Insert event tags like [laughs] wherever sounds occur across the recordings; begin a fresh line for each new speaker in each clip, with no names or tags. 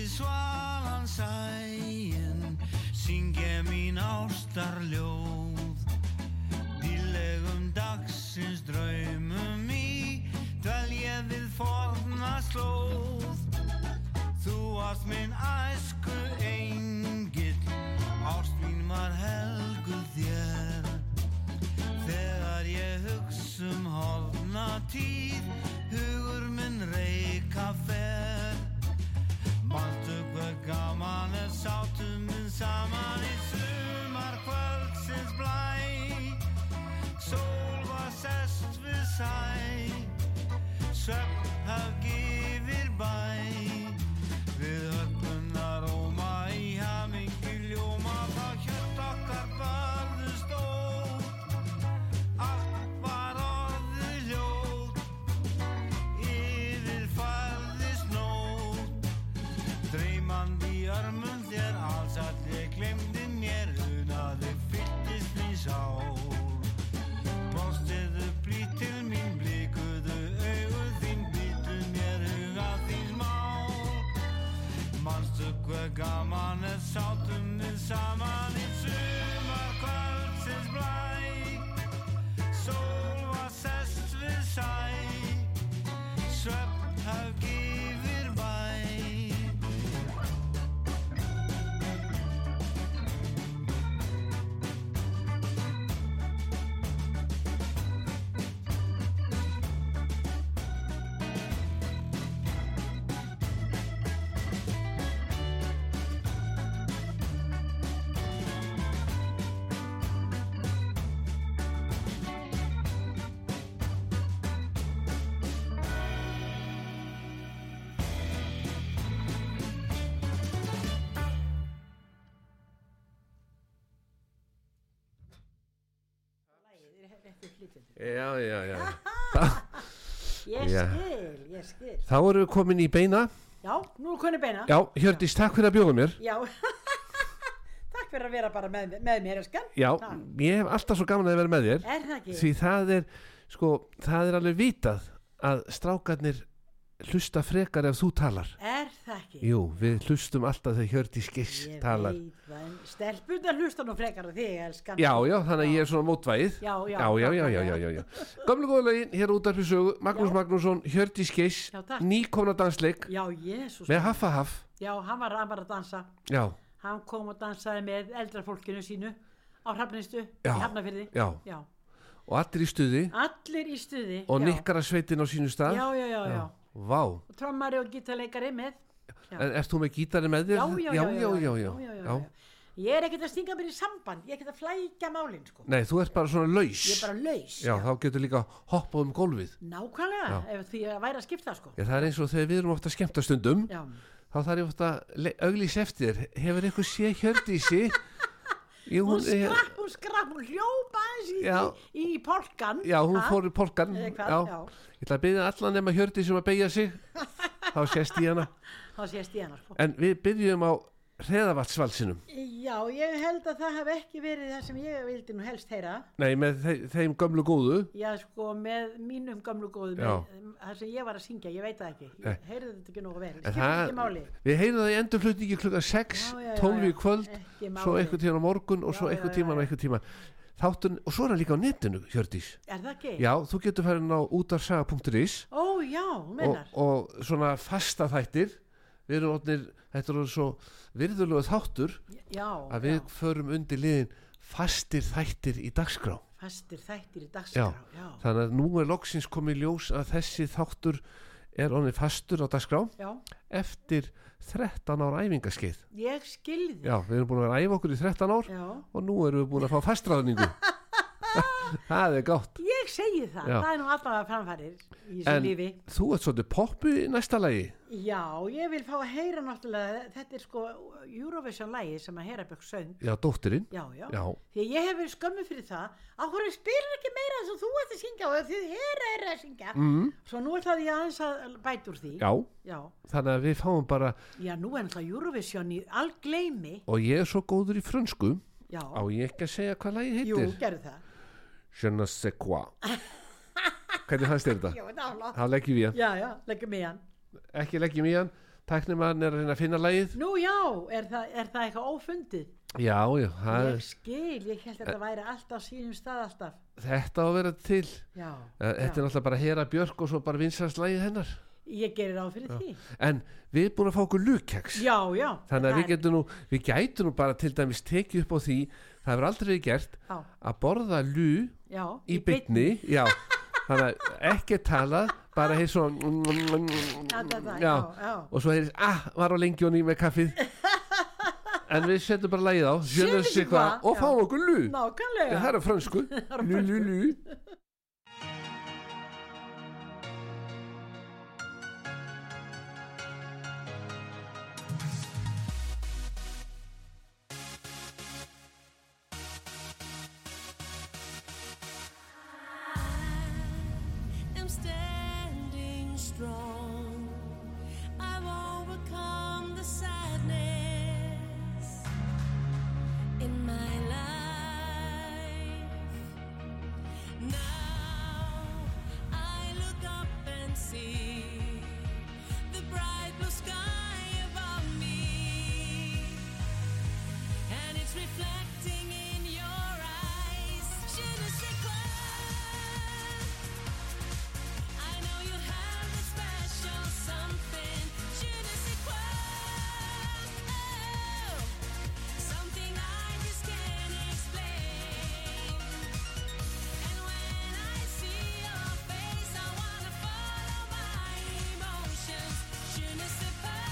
svalan sæin syngja mín ástarljóð Dýlegum dagsins draumum í dvelja við forna slóð Þú varst minn æsku engill Ást mín var helguð þér Þegar ég hugsa um hofna tíð Hugur minn reyka fer Manstu hver gaman er sátum minn saman Í sumar kvöldsins blæ Sól var sest við sæ Svefn haf gefir bæ Við höfnum róma í hamingi ljóma Þá hjört okkar barðust ótt Allt var orðið ljótt Yfir farðist nótt Dreymandi í örmum þér alls allir glemdi mér Unaði fylltist mín sál Brostiðu blít til mín, blikuðu augu þín, býtu mér huga þín mál. Manstu hver gaman er sátum við saman í sumar kvöldsins blæ. Sól var sest við sæ, svefn haf gefir væ.
Lagið er rétt upp hlutandi.
já, já, já
Ég
Já.
skil, ég skil.
þá erum við komin í beina
Já, nú er konu beina.
já, Hjördís, takk fyrir að bjóða mér
Já. [laughs] Takk fyrir að vera bara með, með mér, elskan.
já,
Takk.
ég hef alltaf svo gaman að vera með þér
Er það ekki?
því það er, sko, það er alveg vitað að strákarnir hlusta frekar ef þú talar
Er það ekki?
jú, við hlustum alltaf þegar Hjördís Giss
Ég
talar
veit það, en stelpunar hlusta nú frekar á þig, elskan.
Já, já, þannig að ég er svona mótvæðið
Já, já,
já, já, já, já, já, já. Gamlu góðlegin, hér út af fyrir sögu Magnús
Já.
Magnússon, Hjördís Geis
Já, takk.
Nýkomna dansleik
Já, Jésús.
með Haffa Haff
Já, hann var, hann var að dansa.
Já,
Hann kom og dansaði með eldra fólkinu sínu á Hrafnistu í
Já.
Hafnafyrði.
já,
Já.
og allir í stuði
Allir í stuði.
og
já.
nikkara sveitin á sínu stað
Já, já, já, já.
Vá,
Og trommari og gítarleikari með. Já.
en ert þú með gítari með þér?
Já, já, já,
já, já, já, já.
Ég er ekkert að stinga mér í samband, ég er ekkert að flækja málinn, sko.
Nei, þú ert bara svona laus
Ég er bara laus.
Já, þá getur líka hoppað um gólfið
Nákvæmlega, ef því að væri að skipta, sko.
Já, það er eins og þegar við erum ofta skemmta stundum
Já.
þá þarf ég ofta auglís eftir þér. hefur eitthvað séð Hjördísi Jú,
Hún
eh,
skrapp, hún skrapp, hún hljópa aðeins í,
Já.
í, í polkan.
Já, hún
Ha?
fór í polkan
Eða
já.
hvað, já.
Ég ætla að byrja allan nema Hjördís um að beigja sig Þá sést ég hana
Þá sést ég hana, sko.
En við byrjum á hreðavatsvalsinum
Já, ég held að það hafi ekki verið það sem ég vildi nú helst heyra.
Nei, með þe þeim gömlu góðu
Já, sko, með mínum gamlu góðu,
Já.
með, það sem ég var að syngja, ég veit það ekki.
Nei.
Ég heyrði þetta ekki nógu vel,
En
skiptir ekki máli.
Við heyrum það í endurflutningi klukkan 6
Já, já, já,
12 í
já.
kvöld
Ekki
Svo
máli.
einhvern tíðan á morgun og
Já,
svo
já,
einhvern
já,
tíman
já.
og einhvern tíman Þáttun, og svo er hann líka á netinu, Hjördís
Er það ekki?
Já, þú getur færin á útarsaga.is
Ó, já,
og,
hún meinar.
og svona fasta þættir Við erum orðnir, þetta er orðið svo virðulegu þáttur
já,
að við
já,
förum undir liðin fastir þættir í dagskrá
fastir þættir í dagskrá, já. Já,
þannig að nú er loksins komið ljós að þessi þáttur er onni fastur á dagskrá eftir 13 ára æfingaskeið
ég skilði.
já, við erum búin að vera að æfa okkur í 13 ár
já.
og nú erum við búin að fá fastræðningu
[laughs]
það er gátt
Ég segi það,
Já.
það er nú allavega framfærir í þessu
En-
lífi.
þú ert svolítið poppu í næsta lagi
Já, ég vil fá að heyra náttúrulega, þetta er sko Eurovision-lægi sem að heyra bygg söng.
já, dóttirinn
Já, já.
já,
Því að ég hef verið skömmu fyrir það, að hverju spyrir ekki meira þess að þú ert að syngja og þið heyra er að syngja.
Mm,
Svo nú ætlaði ég aðeins að bæta úr því.
já.
Já,
þannig að við fáum bara
Já, nú er náttúrulega Eurovision í algleimi.
og ég er svo góður í frönsku
Já,
á ég ekki að segja hvað lagi
jú,
heitir
gerðu það.
Je ne sais
[laughs]
quoi Hvernig fannst þér þetta?
Já, það var látt.
Þá leggjum við í hann
Já, já, leggum í hann.
Ekki leggjum við í hann tæknimann er að reyna að finna lagið
Nú já, er það, er það eitthvað ófundið?
já, já, það,
Ég skil, ég held að þetta væri allt á sínum stað alltaf.
þetta á að vera til
Já,
Eh, þetta er
já.
náttúrulega bara Hera Björk og svo bara vinsast lagið hennar
ég gerir ráð fyrir því.
en við erum búin að fá okkur lukjaks
Já, já.
þannig að við
það er-
getum nú við gætum nú bara til dæmis tekið upp á því það hefur aldrei verið gert
Já,
að borða lú
já.
í bytni já, þannig að ekki talað bara heyrst
Já, þetta,
svona
já,
já,
já.
og svo heyrist ah, var á lengjóni með
[laughs]
kaffið en við setjum bara lagið á
Sjöðu
sjöðum
sig
sig hvað
hvað,
og
já.
fáum okkur lú
Nákvæmlega.
það er á
[laughs]
fransku
er á
lú lú lú
am standing strong. I've overcome the sadness in my life. Now I look up and see the bright blue sky above me and it's reflecting in your eyes. Je ne sais quoi. I know you have a special something. Je ne sais quoi. Oh, something I just can't explain. And when I see your face, I wanna follow my emotions. Je ne sais pas.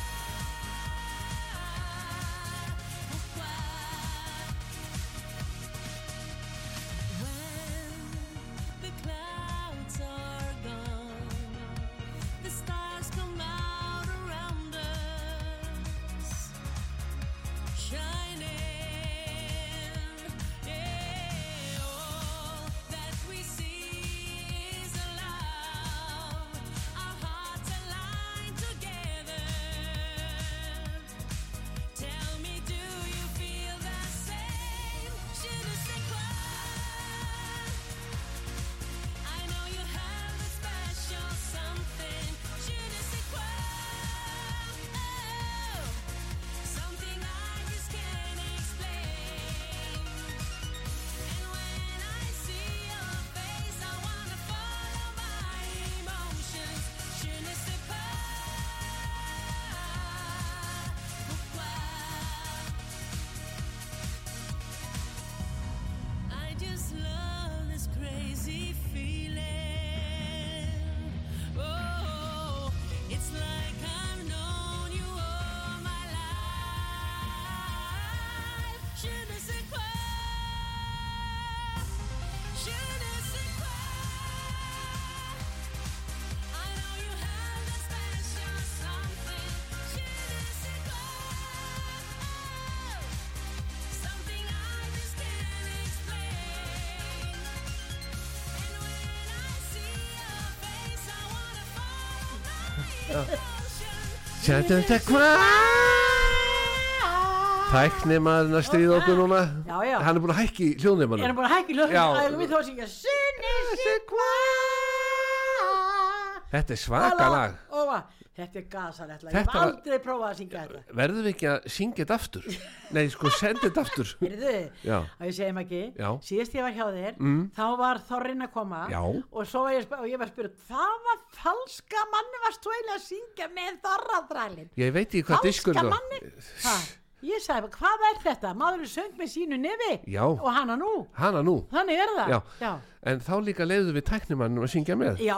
When the clouds are gone, the stars come out around us, shining. All that we see is love. Our hearts align together. Tell me, do you feel the same? Je ne sais quoi. I know you have a special something. Je ne sais quoi. Oh, something I just can't explain. And when I see your face, I wanna follow my emotions. Je ne sais pas. I just love this crazy feeling. Oh, it's like I've known you all my life. Je ne sais quoi. Je ne sais quoi. I know you have a special something. Je ne sais quoi. Something I just can't explain. And when I see your face, I wanna follow my emotion.
sjöðum sig
Ah!
hvað tæknimann að stríða okkur núna
Ah! Já, já.
hann er búin að hækki
Er hann
hljóðnefannum
búin að hækki lögum?
Já.
Já. Ægum við þá að syngja Sunni sig hvað?
þetta er svaka lag
Óa, þetta er gasalett lag. Ég
Þetta
hef
var-
aldrei prófað að syngja þetta.
verðum við ekki að syngja þetta
[laughs]
aftur nei sko senda þetta aftur
Heyrðu,
já,
að ég segjum ekki,
Já.
síðast ég var hjá þér,
mm,
þá var Þorrin að koma
Já.
og svo var ég, sp- og ég var að spyrja, hvaða falska manni varst þú eiginlega að syngja með Þorraþrælinn?
ég veit ekki hvað diskur það
Falska
var.
manni? Ha, ég sagði, hvað er þetta? Maðurinn söng með sínu nefi
já,
og hana nú.
hana nú
Þannig er það.
Já.
Já.
en þá líka leiðum við tæknimannum að syngja með
Já.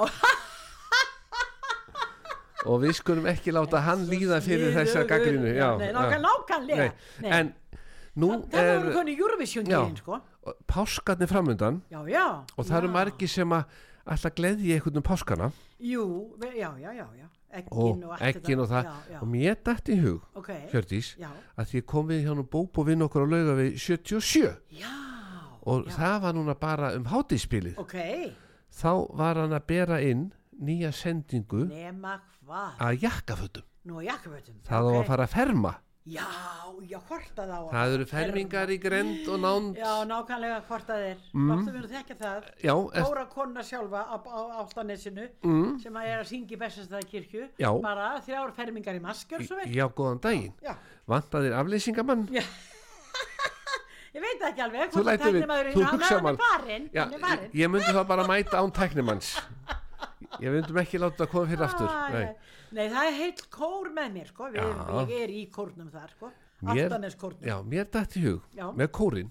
og við skulum ekki láta hann líða [laughs] fyrir
Sniðugur.
þessa gaggrinu já,
Nei,
já.
nákvæm- nákvæmlega
Nei, en eh, nú
Það er
er
hún konu Eurovision-gýrin sko
páskarnir framöndan
Já, já
og það eru
já.
margi sem að alltaf gleðja einhvern um páskana
Jú, ve- já, já, já, já Eggin og
og
allt
ekkin og það
Já, já,
og mér dætt í hug,
ok
Hjördís
Já,
að því ég kom við hjá nú bóp og vinn okkur á lauga við 77
já,
og
já
það var núna bara um hátíspilið
Ok,
þá var hann að bera inn nýja sendingu
nema hvað
að jakkafötum
Nú, jakkvöldum
það á að fara að ferma
Já, já, hortað á hann.
Það eru fermingar í grend og nánd
Já, nákvæmlega hortað er.
Mm.
Láttu mér að þekka það.
Já, eft,
Góra konna sjálfa á, á Áltanesinu
mm,
sem að er að syngja í Bessastæðakirkju.
Já.
Bara þrjár fermingar í maskjör svo vel.
já, góðan daginn
Já,
Vantaðir aflýsingamann
ég veit ekki alveg.
Þú lætur við- þú hugsar
mann. Hann
mann.
er barinn,
Já,
hann er barinn.
ég- ég myndi þá bara mæta án tæknimanns Ég myndum ekki láta það koma fyrir aftur
Æ,
Nei.
Nei, það er heilt kór með mér, sko. Við,
Já.
ég er í kórnum þar, sko.
Mér-
Aftaneskórnum.
Já, mér dætt í hug
Já.
með kórin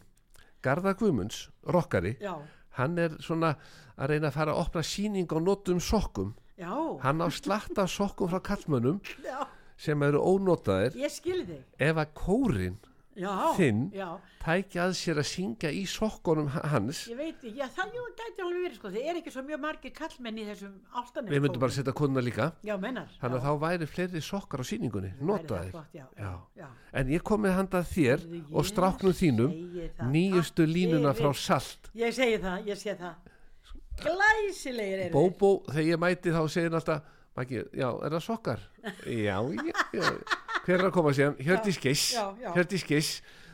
Garðar Guðmunds, rokkari
Já,
Hann er svona að reyna að fara að opna sýning á notum sokkum
já,
Hann á slatta af sokkum frá kallmönnum
já,
sem eru ónotaðir
ég skilði þig.
ef að kórin
Já,
Þinn?
Já,
tækja að sér að syngja í sokkunum h- hans
ég veit, já, það jú, gæti alveg verið, sko. Það er ekki svo mjög margir kallmenn í þessum áltaneskórnum.
Við myndum bara setja konuna líka
Já, mennar.
Þannig að þá væri fleiri sokkar á sýningunni notaðir
Já, já,
Já.
já.
En ég kom með handað þér
Heyrðu,
og
ég
stráknum þínum
segi það.
nýjustu
Allir
línuna frá
vita.
salt
Ég segi það, ég sé það. Glæsilegir eru. þeir.
Bóbó, þegar ég mæti þá segir hann alltaf Maggi, já, er það sokkar? Já, já, já Hver er að koma síðan? Hjördís Giss
já, já.
Hjördís Giss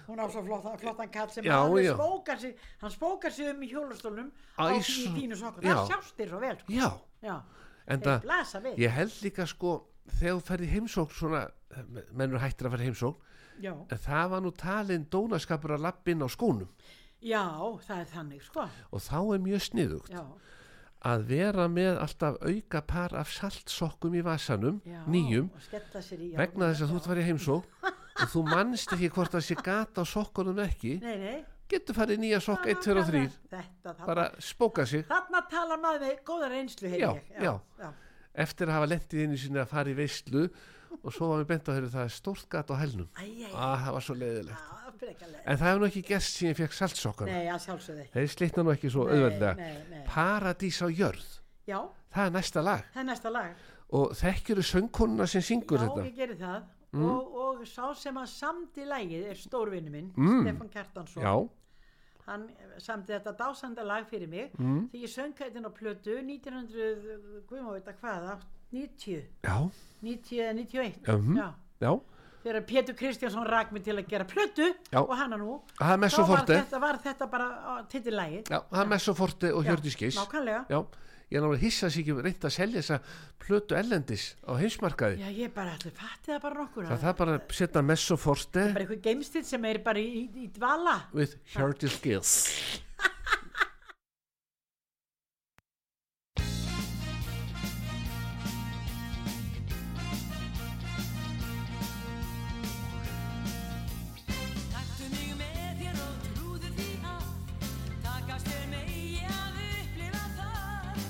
Hún á svo flotta, flottan kall sem
Já,
alveg
já.
spókar sig, hann spókar sig um í hjólastólnum á
Æ,
því
svo-
þínu sokkur.
já.
Það sjást þér svo vel, sko.
Já,
Já,
en
þeir
það
blasa við.
Ég held líka sko þegar þú ferði heimsókn svona mennur hættir að fara í heimsókn
Já.
en það var nú talin dónaskapur að lappin á skónum
já, það er þannig, sko.
og þá er mjög sniðugt
Já,
að vera með alltaf auka par af saltsokkum í vasanum
já.
nýjum
Og skella sér í. já,
vegna þess að
já.
þú ert farið í heimsókn og þú mannst ekki hvort það sé gata á sokkunum eða ekki
Nei, nei.
getur farið í nýja sokk 1, 2 og 3
Þetta, þarna.
bara spóka sig
Þarna talar maður með góða reynslu, heyr
Já,
ég.
já.
já.
eftir að hafa lendið inn í sinni að fara í veislu og svo var mér bent á þeirri það er stórt gat á hælnum
Æ, æ, æ,
að það var svo leiðilegt
já, frekalega.
en það hefur nú ekki gæst síðan ég fekk saltsokkana
Nei, að sjálfsögðu ekki.
þeir slitna nú ekki svo
Nei,
auðveldlega
nei, nei.
Paradís á jörð
Já,
það er næsta lag
það er næsta lag.
og þekkjuru söngkonuna sem syngur
Já,
þetta Mm.
ég geri það. Og, og sá sem að samdi lagið er stórvinni minn, Stefán Kjartansson.
Mm. já,
Hann samdi þetta dásanda lag fyrir mig mm. þegar ég söng hættin á plötu 1900, guðmá veit að hvað, 90,
já,
90 eða 91.
Mhm.
Já.
já
Þegar Pétur Kristjánsson rak mig til að gera plötu
Já.
og hana nú.
það er
Þá
Messo
var
Forte
þetta, var þetta bara titillægið.
já, það er Messo Forte og Hjördís Geis
Nákvæmlega.
já, ég er náttúrulega hissa sig ekki reynd að selja þessa plötu ellendis á heimsmarkaði
Já, ég bara allir fatti það bara nokkur.
það er bara að setja Messo Forte
bara eitthvað geimstill sem er bara í, í, í dvala.
with Hjördís Geis
Taktu mig með þér og trúðu því að Takast þér megi að upplifa það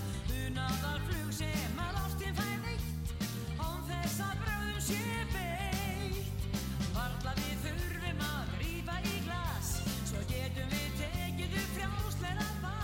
Unaðar flug sem að ástin fær veitt Án þess að bráðum sé beitt Varla við þurfum að grípa í glas Svo getum við tekið upp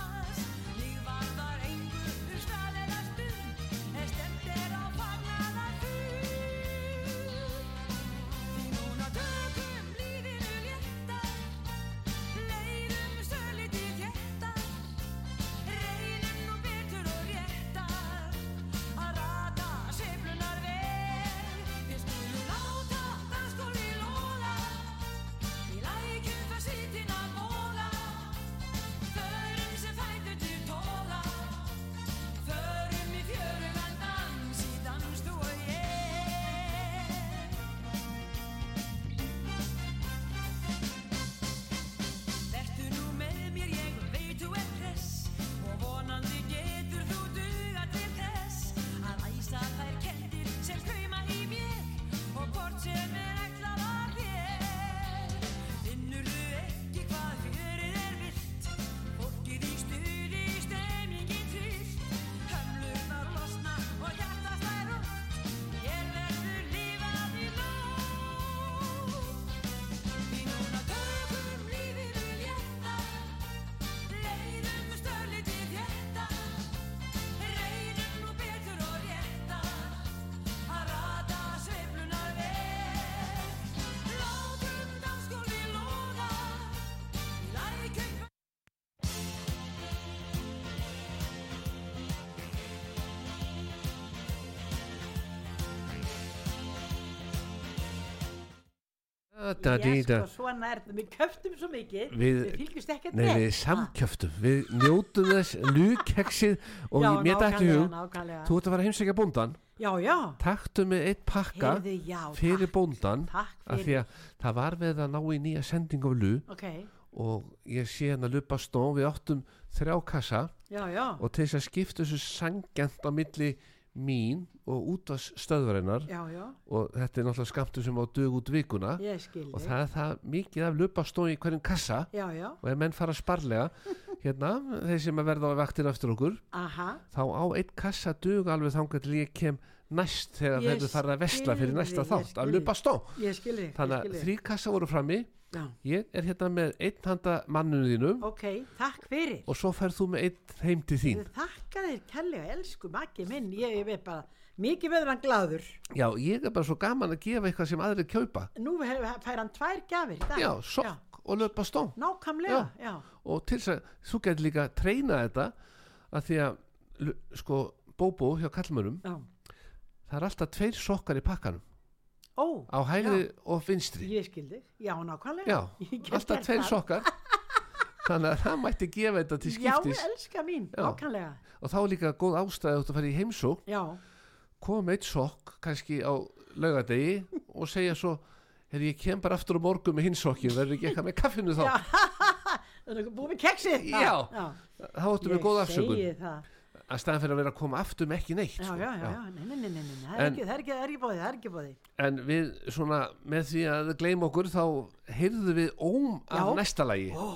da, di,
Ég
da.
sko svona er þetta, við köftum svo mikið Við,
Við-
fylgjumst ekkert
Nei, við samkjöftum, við njótum þess lúkeksið og já, mér dætti hug
nákvæmlega
Þú ert að fara að heimsækja bóndan
Já, já,
Taktu með eitt pakka
heyrðu, já
fyrir
takk,
bóndan
Takk
af því
fyrir,
að það var við að ná í nýja sending af lú
ok,
og ég sé hann að lupa snó við áttum þrjá kassa
já, já
og til þess að skipta þessu sangjant á milli mín og út af stöðvarinnar
Já, já,
og þetta er náttúrulega skamtu sem á dög út vikuna
ég skil
og
þig.
það er það mikið af lupa snó í hverjum kassa
Já, já,
og ef menn fara
[laughs]
sparlega hérna, þeir sem að verða á vaktin eftir okkur
aha
þá á einn kassa dög alveg þangar til ég kem næst þegar
Ég
þeir eru farið að vesla fyrir
skil
næsta
þig, ég
þátt að
skil
lupa snó
Ég skil þig,
þannig
ég
að
skil þig
þrý kassa voru frammi
Já.
ég er hérna með einn handa manninu þínum
Ok, takk fyrir
og svo ferð þú með einn heim til þín
Þakka þér kellega, elsku makki minn Ég, ég veit bara, mikið verður hann gláður
já, ég er bara svo gaman að gefa eitthvað sem aðrir kaupa
Nú he- fær hann tvær gjafir í dag.
já, sokk og löpa stó
Nákvæmlega, já,
og til þess að þú getur líka að treyna þetta að því að lu- sko, bóbó hjá kallmörum
já.
það er alltaf tveir sokkar í pakkanum
Ó,
á hægri og vinstri
ég skildi, já, nákvæmlega.
já,
[laughs] Ég get
alltaf
gert
tveir
það. [laughs]
sokkar þannig að það mætti gefa þetta til skiptis
Já, elska mín,
Já.
nákvæmlega.
og þá er líka góð ástæði að þú færi í heimsók
Já,
koma með eitt sokk kannski á laugadegi og segja svo er ég kem bara aftur á morgun með hinn sokkin verður ekki eitthvað með kaffinu þá
Já. [laughs] það er búið með keksið.
Já. þá áttu með
Ég
góð afsökun
segi það.
að staðan fyrir að vera að koma aftur með ekki neitt
Já,
sko.
já, já, já, nei, nei, nei, nei, nei, það er
En-
ekki, það er ekki, það er ekki bóðið, það er ekki bóðið.
en við svona með því að gleyma okkur þá heyrðu við óm af
Já.
næsta lagi
Ó,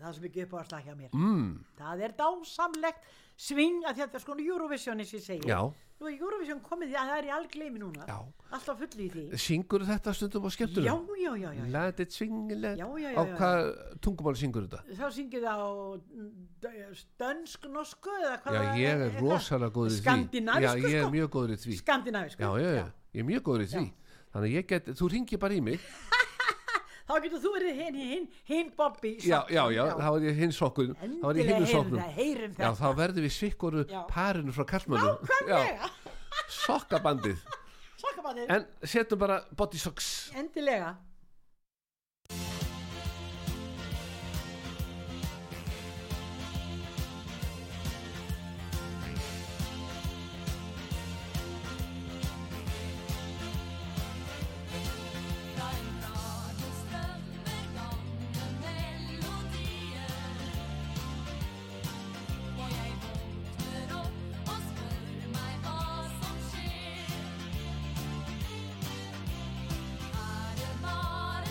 það er svo mikið upp á að slaka mér.
mm,
Það er dásamlegt sving að þetta er svona Eurovision eins og ég segi.
já,
Nú er Eurovision komið, það er í algleimi núna.
já
Alltaf fulli í því.
syngur þetta stundum á
Já,
skemmtunum
já, já, já, já.
let it swing let
Já, já, já,
á
já,
hvað tungumáli syngur þetta
þá syngið á mm, dönsk-norsku eða hvað
já,
það
ég er
hvað?
rosalega góður í því já,
Skandinavísku,
ég er
sko.
mjög góður í því
skandinavísku
já, já, já, ég er mjög góður í því þannig að ég get, þú ringir bara í mig
þá getur þú verið hinn, hinn, hinn Bobby í
já,
sokkum,
já, já, þá er ég hinn sokkur þá er ég
Endilega
hinn
heyrum
soknum
það, heyrum
já,
það
þá verðum við sikkoru
Já.
parinu frá kallmönnum já,
Nákvæmlega.
sokkabandið
Sokkabandið,
en setjum bara body socks
endilega
Från radion strömmar gångna melodier Och jag våknar upp och spör mig vad som sker Är det bara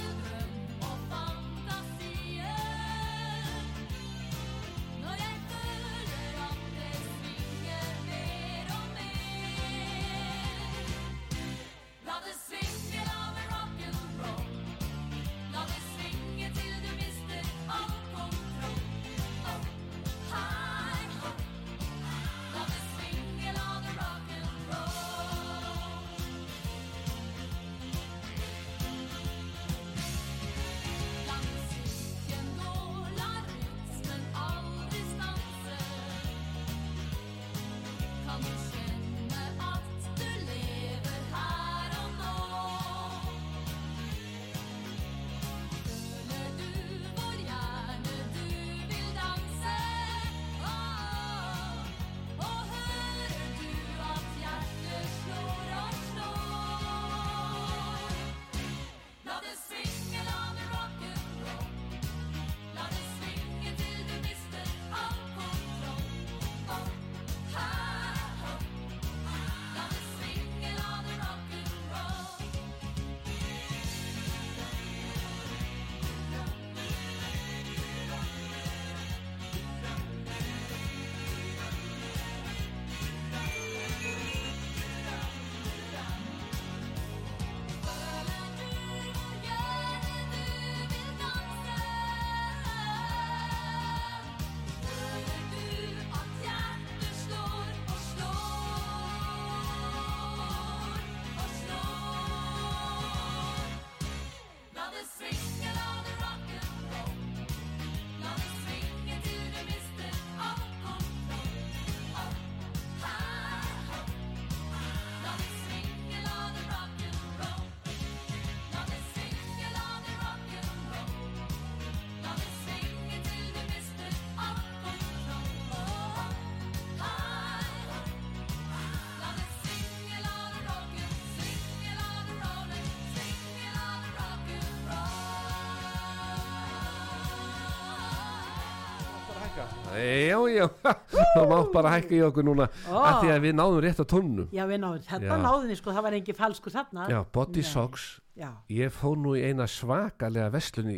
hækka Já, já, [laughs] það má bara hækka í okkur núna
Ó.
oh. Því að við náðum rétt á tónnum
Já, við náðum, þetta
Já.
náðum við sko, það var engin falskur þarna.
Já, body
Nei.
socks
Já,
Ég fór nú í eina svakalega verslun í,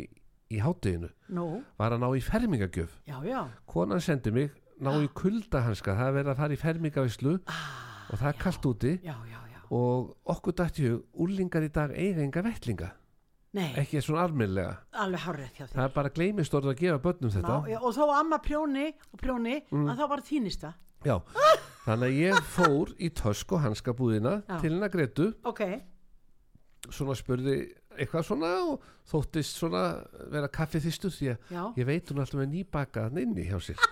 í hátteginu
nú,
Var að ná í fermingagjöf
já, já.
Konan sendi mig, ná í kuldahanska Það er verið að fara í fermingavislu
Ah,
Og það er kalt úti
já, já, já.
Og okkur dætt í hug, úlingar í dag eiga enga vettlinga
Nei,
Ekki svona almennlega
alveg hárrið hjá
Það
þér.
er bara gleymist orðið að gefa börnum þetta Mm.
Ná, já, og þó amma prjóni og prjóni, að þá var þínist það. [laughs]
Já, þannig að ég fór í tösk og hanskabúðina
Já.
til hennar Gretu,
Ok,
svona spurði eitthvað svona og þóttist svona vera kaffiþistur því að
já.
ég veit hún er alltaf með nýbakaðan inni hjá sér.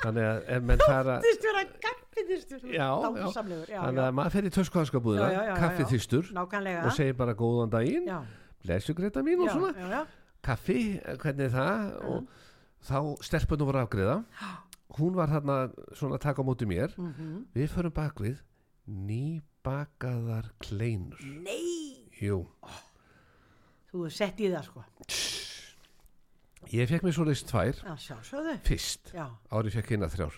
Þannig að ef menn fara,
Þýstur að gaffiðistur.
Já, já.
Dásamlegur, já,
þannig
já.
að maður fer í tösk og
Já, já, já,
hanskabúðina,
já.
kaffiþistur
Nákvæmlega.
og segir bara góðan daginn,
Já,
blessu Greta mín og
já,
svona,
já, já.
kaffi, eh, hvernig er það og þá stelpunum voru afgriða. Hún var þarna svona að taka á móti mér
Mhm.
Við förum bakvið nýbakaðar kleinur.
Mm. Nei,
Jú,
þú hefur sett í það sko.
ég fekk mér svo leist tvær
Já, sjálfsögðu.
fyrst.
Já, [laughs]
Ári fekk hérna þrjár.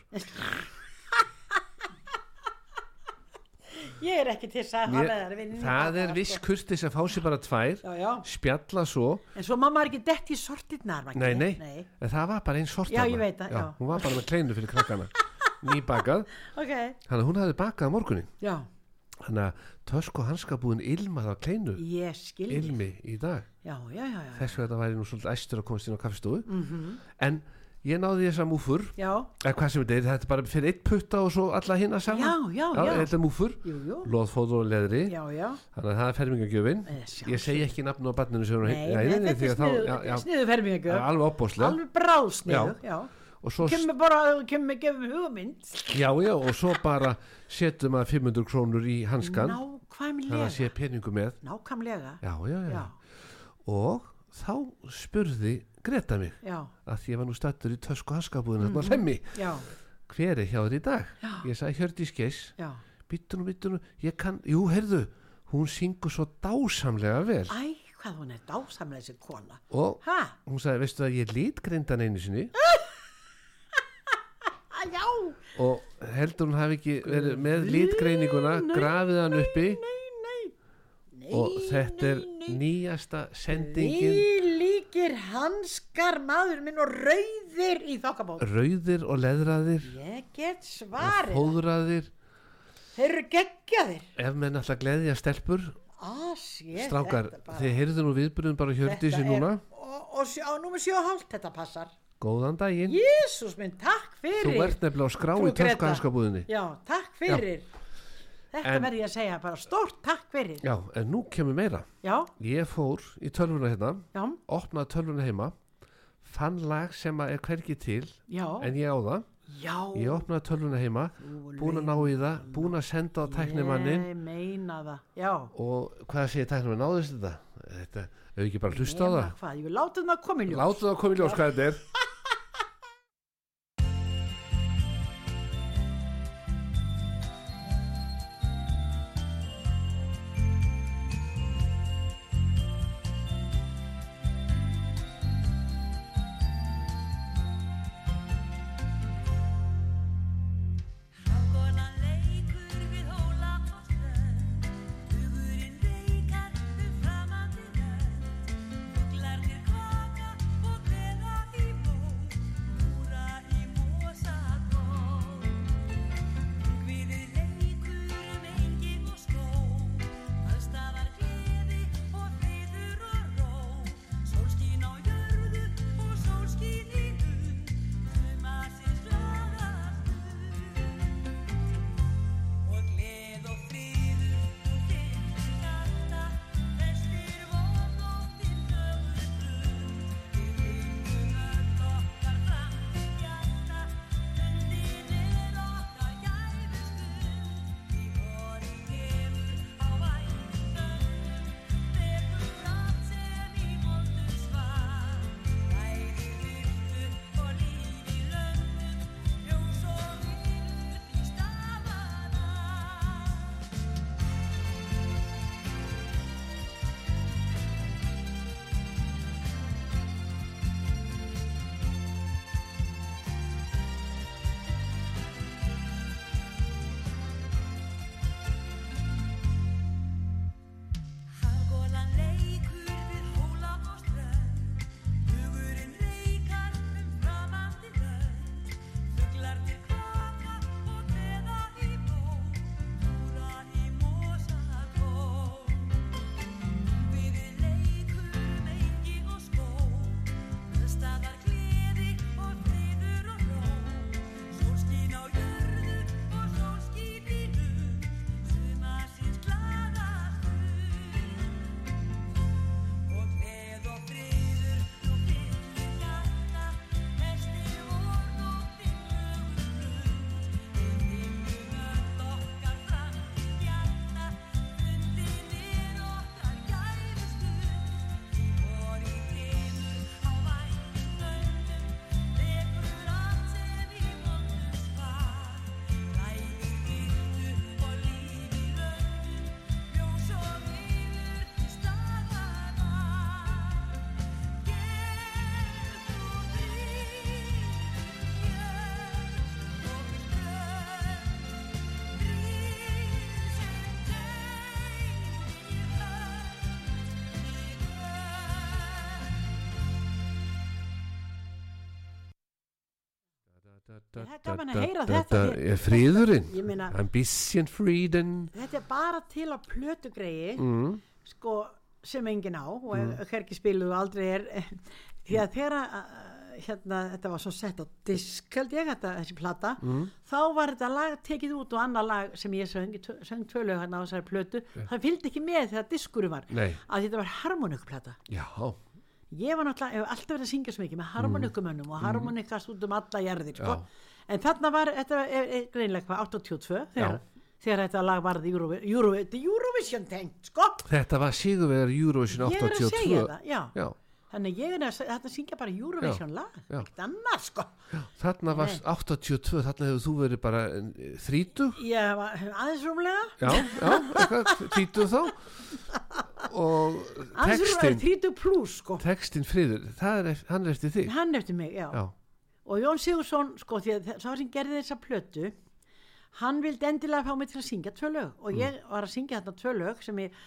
ég er ekki til að hafa
Mér,
það. við-
það er viss
sko.
kurtis að fá sér bara tvær,
Já, já.
spjalla svo,
En svo mamma er ekki dett í sortirnar, maður
Nei,
ekki.
nei. en það var bara einn sort.
Já,
þarna.
ég veit það, já.
Hún var bara með kleinur fyrir
[laughs]
krakkana, nýbakað.
Ok,
Þannig að hún hafði bakað á morgunin.
já,
Þannig að tösk og hanska búin ilmað á kleinu,
ég skil. þig.
ilmi í dag.
Já, já, já, já.
Þess vegna væri nú svolítið æstur að komast inn á kaffistofu.
Mhm.
En ég náði þess að múfur
Já,
eða hvað sem þetta er, þetta er bara fyrir eitt putta og svo alla hinn að saman
já, já, já.
þetta er múfur,
Jú, jú.
loðfóður og leðri
Já, já.
þannig að það er fermingagjöfin
Eh, sjálfsögðu.
ég segi ekki nafn á barninu sem hún
Nei,
hei-
nei,
nei, nei,
þetta
því
er
að þá-
sniðu,
já, já, það
sniðu
er
fermingu.
alveg opbóslega
Alveg bráðsniðu, já.
og svo,
Kemur bara, kemur, kemur hugmynd.
já, já, og svo bara setjum að 500 krónur í hanskan þannig að
Nákvæmlega.
sé peningu með
Nákvæmlega.
já, já, já,
Já,
og þá spurði Greta mig
já,
að því ég var nú stættur í tösku hanskabúðinu mm -hmm.
já,
hver er hjá þér í dag
Já.
ég sagði Hjördís Geis
já.
Bittu nú, bittu nú, ég kann, jú, heyrðu, hún syngur svo dásamlega vel.
Æ, hvað hún er dásamlega þessi kona.
Og
Hæ?
hún sagði, veistu það, ég lít grindan einu sinni
Já.
og heldur hún hafi ekki verið með lítgreininguna, grafið hann uppi
Nei, nei. Nei,
og þetta er
nei, nei.
nýjasta sendingin,
Því líkir hanskar maður minn og rauðir í þokkabók.
rauðir og leðraðir
Ég get
og
svarið.
fóðraðir.
Þeir eru geggjaðir.
Ef menn alltaf gleðja stelpur,
As, ég,
strákar,
þetta bara-
þið heyrðu nú viðbyrjum bara Hjördísi
þetta er-
núna.
Og, og sjá, nú með sjó hálft þetta passar.
Góðan daginn,
Jésús minn, takk fyrir.
þú ert nefnilega á skrá
Frú
í
Greta.
törskuhanskabúðinni.
Já, takk fyrir. Þetta
En-
verð ég að segja bara stórt takk fyrir.
Já, en nú kemur meira.
Já,
Ég fór í tölvuna hérna
já,
opnaði tölvuna heima fann lag sem að er hvergi til
já,
en ég á það,
já.
ég opnaði tölvuna heima búin að ná í það, búin að senda á tæknimannin
Ég meina það, já.
og hvað segir tæknimann, náðist þetta? Þetta, hefur ekki bara hlust á
Nema
það?
Hvað, ég látið maður komin ljó.
Láttu það að koma í ljós hvað þetta er
Hákonan leikur við Hólafossvöld, hugurinn veikar um framandi völd. Fuglarnir kvaka og kveða í bó,
um
Það er gaman að heyra þetta
Þetta
hér.
er fríðurinn
Ég meina-
Ambition freedom
Þetta er bara til að plötu greiði
mm.
sko, sem enginn á og mm. hverki spiluðu aldrei er Eh, því að þegar að, hérna, þetta var svo sett á disk held ég þetta, þessi plata
Mm.
þá var þetta lag tekið út og annað lag sem ég söng, í tvö- söng tvölaug hérna á þessari plötu það fylgdi ekki með þegar diskuru var
Eh. Nei.
að þetta var harmonikplata
Já,
ég var náttúrulega, hef alltaf verið að syngja svo mikið með harmonikumönnum og harmonikast út um alla jarðir sko.
Mm. Já.
en þarna var, þetta er, er greinlega hvað 82 þegar, þegar þetta lag varði Eurovi, Eurovi, þetta er Eurovision tengt sko.
þetta var Sigurvegar Eurovision
ég er
82
að segja það já.
Já,
þannig ég er að segja, þetta syngja bara Eurovision lag
já.
ekkert annað sko
þarna var 82 Þarna hefur þú verið bara eh, þrítug
ég var aðeins rúmlega
Já, já, eitthvað, þrítug þá
[laughs]
Og
aðeins rúmlega
textin
30 plus sko
Textin friður, það er, eft- hann er eftir þig
hann eftir mig, já,
Já,
og Jón Sigursson sko því að sá sem gerði þessa plötu hann vildi endilega fá mig til að syngja tvö lög og
Mm.
ég var að syngja þarna tvö lög sem ég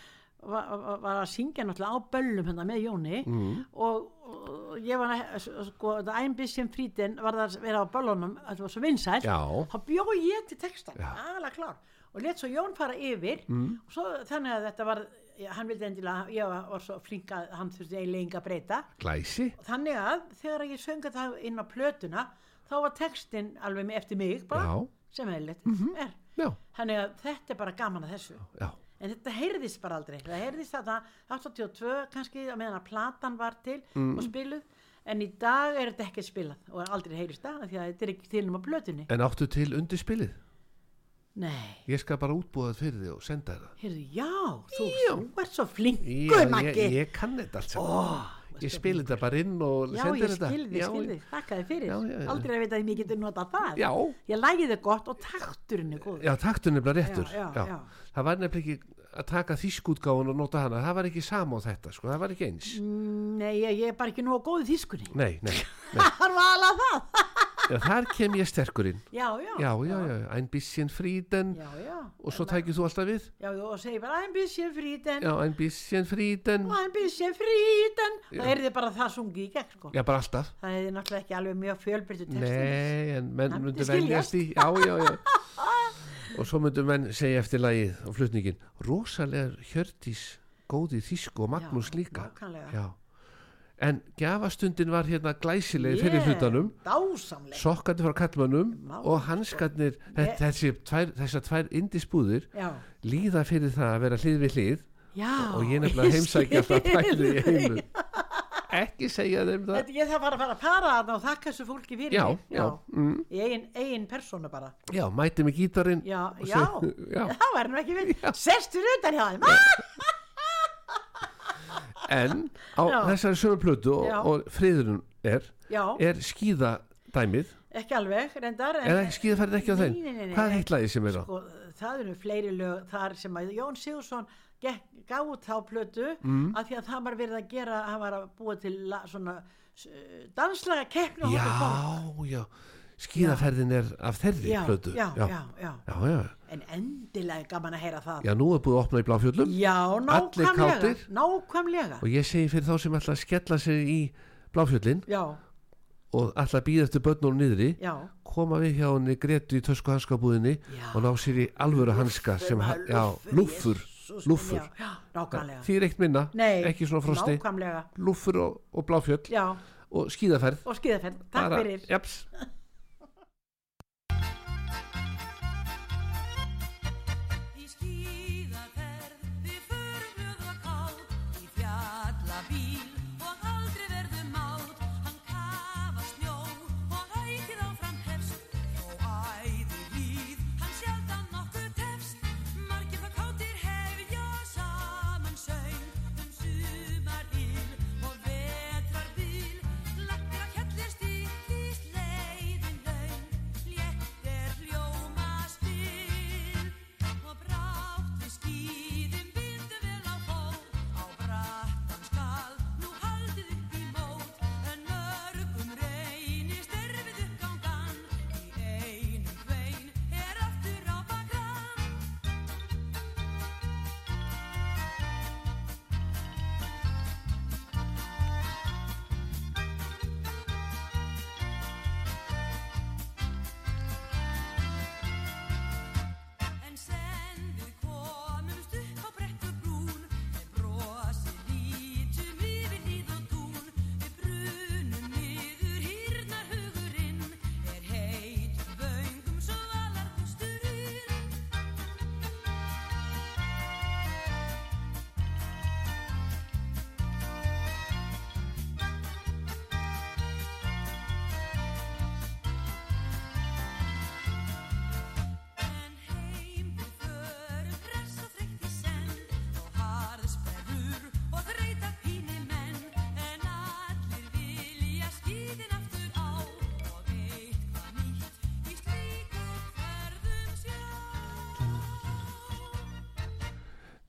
var, var- var að syngja náttúrulega á böllum hérna með Jóni
Mm.
og, og ég var að sko þetta æmbissum frítin var það að vera á böllunum þetta var svo vinsælt
Já.
þá bjó ég til textan,
Já. Mm.
aðalega klár og let svo Jón fara yfir og svo þannig að þetta var já, hann vildi endilega, ég var, var svo flink að hann þurfti eiginlega engu að breyta
glæsi
þannig að þegar ég sönga það inn á plötuna þá var textin alveg með eftir mig bara,
Já.
sem eðlilegt er
Já,
þannig að þetta er bara gaman að þessu
já,
en þetta heyrðist bara aldrei það heyrðist þarna 82 kannski að meðan að platan var til
Mm.
og spiluð en í dag er þetta ekki spilað og aldrei heyrist það af því að þetta er ekki til um á plötunni
en áttu til undirspilið
nei,
Ég skal bara útbúa það fyrir þig og senda það
heyrðu, já þú,
Já.
þú ert svo flinkur
Já, ég,
Maggi
ég kann þetta allt saman Ég spil þetta bara inn og
já,
sendir
ég
þetta
skilði,
Já,
skilði, þakka þið fyrir
Já, já, já.
aldrei að vita að ég geti notað það
Já.
ég lægið þið gott og takturinn er góð
Já, taktun er bara réttur
Já, já, já.
Það var nefnilega ekki að taka þýskútgáun og nota hana Það var ekki sama á þetta, sko, það var ekki eins
Mm, Nei, ég, ég er bara ekki nú á góðu þýskunni. [laughs]
Nei, nei,
Það var alveg það.
já, þar kem ég sterkur inn
Já, já.
Já, já, já, ein bisschen fríden
Já, já.
Og svo tækir þú alltaf við
Já, já, og segi bara, I'm busy fríten,
Já, ein bisschen fríden
I'm busy fríten. Það er þið bara það sungið í gegn, sko.
Já, bara alltaf
Það er náttúrulega ekki alveg mjög fjölbyrtu textin.
Nei, en menn
Það myndi
myndu veljast í Já, já,
[laughs]
já Og svo myndu menn segja eftir lagið og flutningin Rosalega Hjördís góði Þísku og Magnús
Já,
líka
nákvæmlega.
Já En gjafastundin var hérna glæsileg yeah. fyrir hlutanum
Dásamleg.
Sokkarnir frá kallmannum
Má-
og hanskarnir yeah. þessi tvær, þessar tvær indisbúðir
Já.
líða fyrir það að vera hlið við hlið
Já.
og ég nefnilega heimsækja
[laughs]
alltaf
skil.
bæði í heimlu Ekki segja þeim það
Þetta, ég þarf bara að fara að fara þarna og þakka þessu fólki fyrir
Já,
mig.
já, mm.
Í eigin, eigin persónu bara.
Já, mæti með gítarinn
Já,
og
já.
seg- [laughs] já.
Það var nú ekki við. Sestur utan hjá þeim. Ah!
en á
Já.
þessari sömu plötu og,
Já.
og friðurinn er
Já,
er skíðadæmið
ekki alveg, reyndar. en-
er ekki skíðafærið ekki á
Nei,
þeim
nei, nei, nei,
hvað er
nei.
heitt lagið sem er á
sko, það eru fleiri lög þar sem að Jón Sigursson gekk, gaf út þá plötu
Mm.
af því að það var verið að gera hann var að búa til la, svona eh, danslaga keppni á
já,
Hótel Borg.
já, skíðaferðin er af þeirri
já,
plötu
já, já,
já,
já,
já, já.
en endilega er gaman að heyra það já,
já, nú er búið að opna í Bláfjöllum Allir
nákvæmlega
kátir.
nákvæmlega
og ég segi fyrir þá sem ætla að skella sér í Bláfjöllin
já,
og ætla að býða eftir börnunum niðri
já,
koma við hjá henni Gretu í tösku hanskabúðinni
Já.
og ná sér í alvöru hanska sem, hann- já, lúffur,
Jesus,
lúffur
já, já, nákvæmlega
því er eitt minna,
Nei,
ekki svona frosti
nákvæmlega
lúfur og, og bláfjöll
já,
og skíðaferð
og skýðaferð, takk
Bara-
fyrir
japs.
Í skíðaferð við förnöð og kátt Í fjallabíl og aldrei verðum átt Hann kafa snjó og ætir áfram hefst Og æði líð, hann sjaldan nokkuð tefst Margir það káttir hefja saman söng Um sumar og vetrar bíl Lakkar að hjallist í því sleið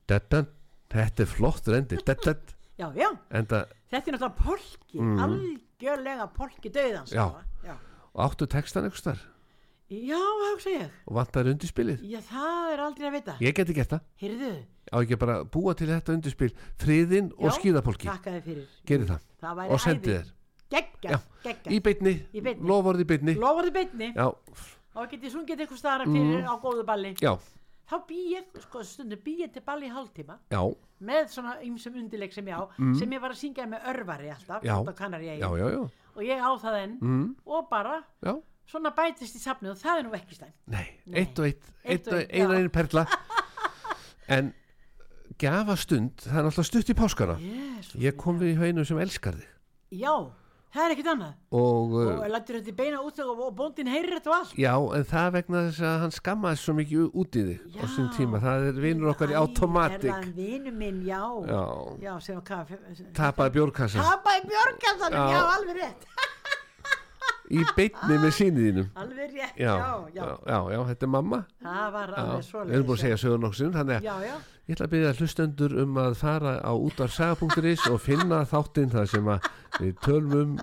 Dedan, þetta er flott rendi Dedan,
já, já,
en það
þetta er náttúrulega polki algjörlega polki döðans
Mm. Já.
sko. já,
áttu textan einhvers þar
já, þá sé ég
og vantar undirspilið
já, það er aldrei að vita
Ég geti gert það,
heyrðu,
á ekki að bara búa til þetta undirspil friðinn
já,
og skýðapólki
þakka þér fyrir,
Gerið það,
það
og sendi þér Já,
geggja,
í
geggja,
beinni,
Í beinni.
lofórið í beinni
lofar þið beinni
Já, Mm.
þá getið sungið eitthvað staðar fyrir á góðu balli
já,
þá bý ég, sko stundum bý ég til balli í hálftíma
já,
með svona ymsum undirleik sem ég á sem ég var að syngja með örvari alltaf
Mm. Já.
út á Kanaríeyjum.
já, já, já,
og ég á það enn
mm,
og bara
já.
svona bætist í safnið og það er nú ekki slæmt
Nei,
Nei.
eitt og eitt, eitt
Eitt og
og
eitt,
eina
já.
einu
[laughs]
perla En gjafastund, það er náttúrulega stutt í páskana
Jesus,
Ég kom við í haunum sem elskar þig
já, það er ekkert annað
og, uh,
og lættur þetta í beina út og og bóndin heyrir þetta og allt
já, en það vegna þess að hann skammaði svo mikið út í þig á
Já.
sín tíma, það er vinur okkar í
er það
automatic
vinu minn, já
Já,
já, sem að kaffi
tapaði bjórkassa
tapaði björgansanum,
Já.
já, alveg rétt
í beinni með sínið þínum
alveg rétt,
já,
já, já,
já, já, já, þetta er mamma
það var
Já, Við
alveg
erum búin að
svoleiðis,
segja sögur nokksinn, þannig að
já, já,
ég ætla að byrja hlustendur um að fara á útvarsaga.is og finna þáttinn þar sem að við tölum um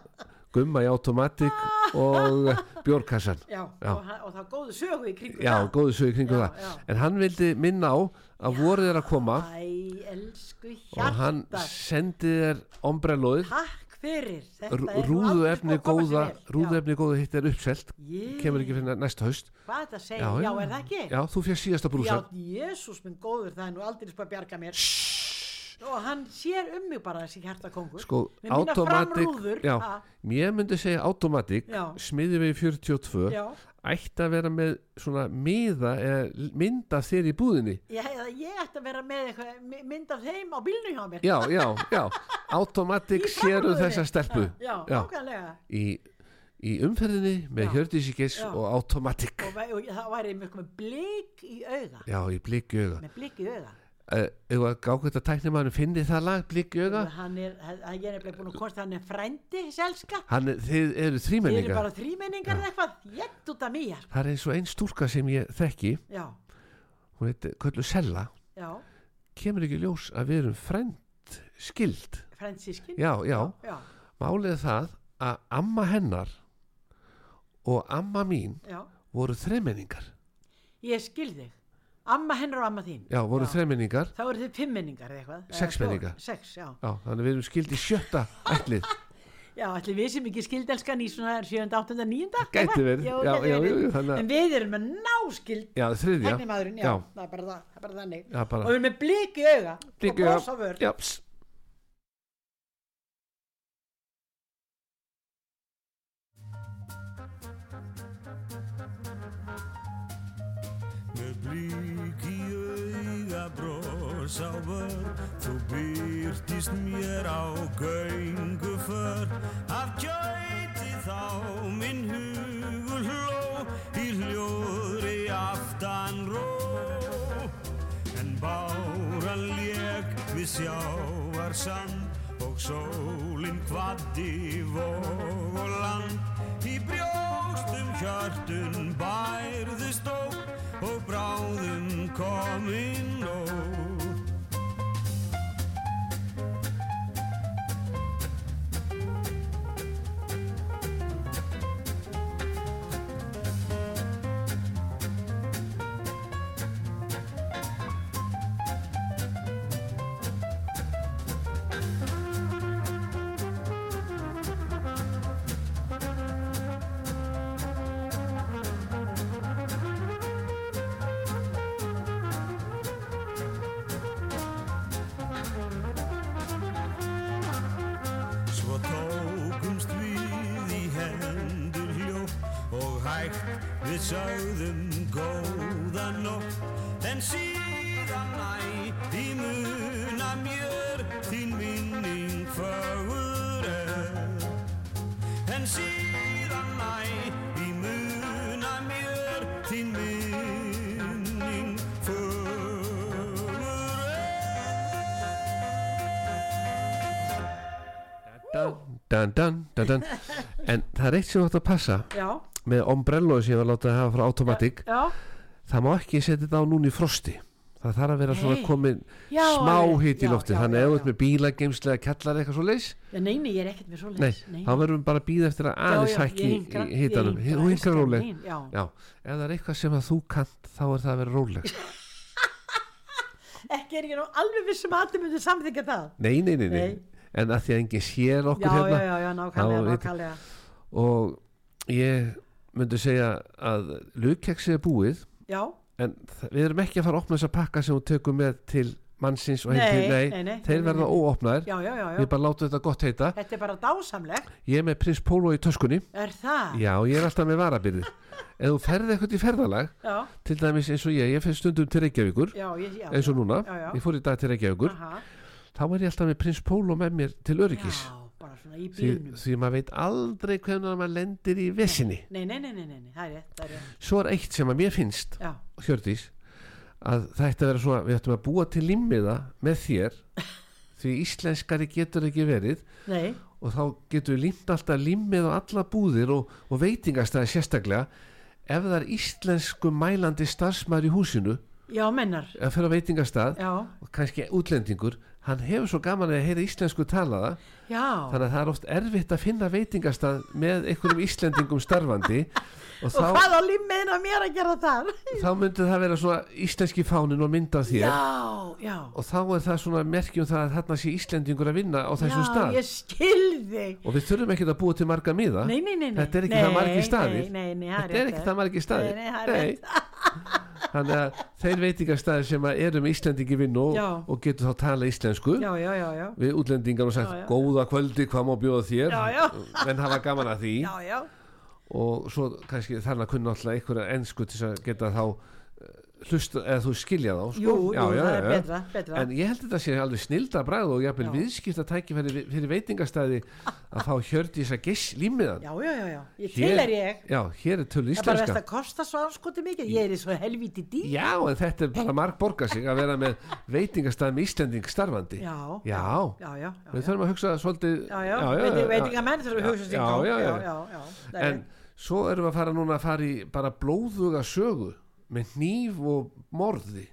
gumma í automatic og bjórkassan.
já,
Já.
Og, hann- og það er góðu sögu í kringum
Já,
það
góðu sögur kringum
Já,
það.
já.
En hann vildi minna á að vorið er að koma
æ, elsku
og hann
hjartar
sendi þér ombrelóið,
takk fyrir þetta er nú aldrei
rúðuefni
búið að koma
góða,
sér vel. Já.
rúðuefni góða hitt er uppselt,
Ég-
kemur ekki fyrir næsta haust.
Hvað þetta segir, já, er það ekki?
Já, þú fyrir síðasta
já
brúsan.
Jésús minn góður, það er nú aldrei spað að bjarga mér Og hann sér um mig bara þessi hjartakongur
sko,
Með mína
automatic
framrúður,
já,
ha?
mér myndi segja automatic
Já.
smiði við 42
Já,
ætti að vera með svona miða eða mynda þér í búðinni
ég, eða ég ætti að vera með eitthvað, my- mynd af þeim á bílnum hjá mér
já, já, já automatic
Í
séru
framrúðunni.
þessa stelpu
Já, já. ákvæðlega
í, í umferðinni
Já.
með Hjördísi Geiss
Já.
og automatic
og, væ- og það væri mjög með blik í auga
já, í blikjöga
Með blik í auga
uh, ef að gákvæmt að tæknir maður finni það lag blikjöga
Hann er, hann- ég er nefnilega búin að kosta hann er frændi selska
hann, þið eru
Þeir eru
þrýmenningar
bara þrýmenningar eða eitthvað Jett út af mér
það er eins og ein stúlka sem ég þekki
Já,
hún heitir Köllu Sella
já,
kemur ekki í ljós að við erum frænd skild
fransískin
já, já,
já,
málið er það að amma hennar og amma mín
já.
voru þremenningar
Ég skil þig Amma hennar og amma þín
já, voru
Já.
þremenningar
Þá eru þið fimmmenningar eða eitthvað eða
Sexmenningar.
fjóra- Sex, já
já, þannig að við erum skild í sjötta ætlið
Já, allir við sem ekki skildelskan í svona 7. 8. 9.
Gæti verið,
já,
já,
gæti
já,
verið.
jú, jú, þannig að-
En við erum með náskild
já, þriðja
Hægnimaðurinn, já,
já,
Það, er bara, það, það er bara þannig
já,
Og
bara
við erum með blik í auga
Blik í
Og
auga.
bros á vör
já, pss.
Með blík í auga bros á vör Þú byrtist mér á göngu för Af gæti þá minn hugur hló Í hljóðri aftan ró En báran lék við sjávar sand Og sólin kvaddi vóg og land Í brjóstum hjörtun bærðist óg Og bráðum komin nóg Svo tókumst við í hendur hljótt og hægt við sögðum góða nótt En síðan næ, því muna mér, þín minning fögur er En síðan næ, því muna mér, þín minning fögur er
dan, dan, dan, dan. en það er eitt sem átt að passa
Já,
með ombrello sem ég var látið að hafa frá automatic
já,
það má ekki setja þetta á núna í frosti það þarf að vera
Nei.
svona komin
Já,
smá
alveg.
hít
Já,
í lofti
já,
þannig
já,
ef þú
já.
ert með bíla, geimslega, kallar eitthvað svo leys
Já, nei, nei, ég er ekkert með svo
nei,
leiðis.
þá verðum við bara að býða eftir að aðeins hækki í- í hitanum og hinkra róleg
Já,
já, ef það er eitthvað sem að þú kant þá er það að vera
[laughs]
róleg
ekki er ég nú alveg viss um að allir myndir samþyggja það.
nei, nei, nei, nei,
Nei.
en að því að engin sér
Já,
okkur
já,
hérna
já, já, nákvæmlega,
þá veit-
nákvæmlega.
og ég myndi segja að lukkeksi er búið
Já,
en þ- við erum ekki að fara að opna þessa pakka sem hún tekur með til mannsins og
Nei,
heim til,
nei, nei,
þeir
nei, nei,
verða
nei.
óopnaðir
já, já, já, já.
við bara látum þetta gott heita
Þetta er bara dásamlegt.
ég er með prins Pólo í töskunni
Er það?
já, ég er alltaf með varabyrði ef þú ferði eitthvað í ferðalag
Já,
til dæmis eins og ég, ég fer stundum til Reykjavíkur
já, ég- já.
eins og núna,
Já, Ah. já.
ég fór í dag til Reykjavíkur
Aha.
þá er ég alltaf með prins Pólo með mér til öryggis
Já, bara svona í
því,
bílnum.
því maður veit aldrei hvernig maður lendir í vesinni
Nei, nei, nei, nei, nei, nei, það er rétt, það er rétt.
svo er eitt sem að mér finnst
Já,
Hjördís að það ætti að vera svona, við ættum að búa til limmiða með þér því íslenskari getur ekki verið
nei,
og þá getur við limt alltaf limmið á alla búðir og, og veitingastæði sérstaklega ef það er íslensku mælandi starfsmæður í húsinu
já, mennar.
að fyrir á veitingastæð
Já,
og kannski útlendingur hann hefur svo gaman að heyra íslensku talaða
já.
þannig að það er oft erfitt að finna veitingastæð með einhverjum íslendingum starfandi og
Og
þá,
hvað á limmiðin að mér að gera þar?
þá myndi það vera svona íslenski fánin og mynda þér
Já, já.
og þá er það svona merkjum það að þarna sé Íslendingur að vinna á þessum
já,
stað
ég skilði.
og við þurfum ekkert að búa til marga miða
Nei, nei, nei, nei.
þetta er ekki
nei,
það margi staðir
Nei, nei, nei, það
þetta er
rétt,
ekki það margi staðir
Nei, nei, það er rétt.
þannig að þeir veitingastæðir sem að eru með Íslendingi vinnu
Já.
og, og getur þá tala íslensku
Já, já, já, já.
við útlendingar og sagt
Já, já.
góða kvöldi hvað má bjóða þér
Já, já.
menn hafa gaman að því
Já, já.
og svo kannski þarna kunna alltaf einhverja ensku til þess að geta þá eh, hlusta eða þú skilja þá sko.
Jú, jú, það er betra, betra.
En ég held að þetta sé alveg snilda bræð og jafnvel
Já.
viðskipta tækifæri vi- fyrir veitingastæði að fá Hjördís að giss límiðan.
Já, já, já, já. Ég til er ég.
Já, hér er tölu
Það er bara verðst
íslenska.
að kosta svo anskoti mikið. Ég er í svo helvíti dýr.
Já, en þetta er bara marg borga sig að vera með veitingastæði með Íslending starfandi.
Já.
Já.
Já, já, já.
Við þurfum að hugsa svolítið.
Já, já. Veiting- Veitingamenn þurfa að hugsa sig
Já,
gang.
já, já.
já, já. það er
En
rétt.
svo erum við að fara núna að fara í bara blóðuga sögu með hníf og morði.